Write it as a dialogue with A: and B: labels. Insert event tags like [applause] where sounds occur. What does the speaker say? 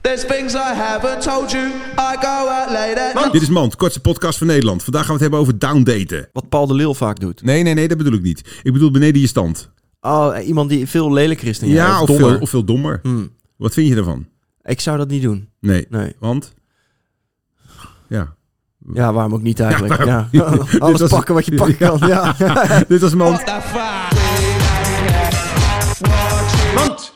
A: There's things I haven't told you. I go out late at night.
B: Dit is Mand, kortste podcast van Nederland. Vandaag gaan we het hebben over downdaten.
C: Wat Paul de Leeuw vaak doet.
B: Nee, nee, nee, dat bedoel ik niet. Ik bedoel beneden je stand.
C: Oh, iemand die veel lelijker is dan
B: Ja,
C: jij. of
B: of,
C: dommer.
B: veel, of veel dommer.
C: Hmm.
B: Wat vind je daarvan?
C: Ik zou dat niet doen.
B: Nee.
C: Nee.
B: Want? Ja.
C: Ja, waarom ook niet eigenlijk? Ja,
B: [laughs] Dit
C: Alles
B: was-
C: pakken wat je pakken
B: [laughs]
C: kan. Ja.
B: Dit was Mand.
A: What the fuck?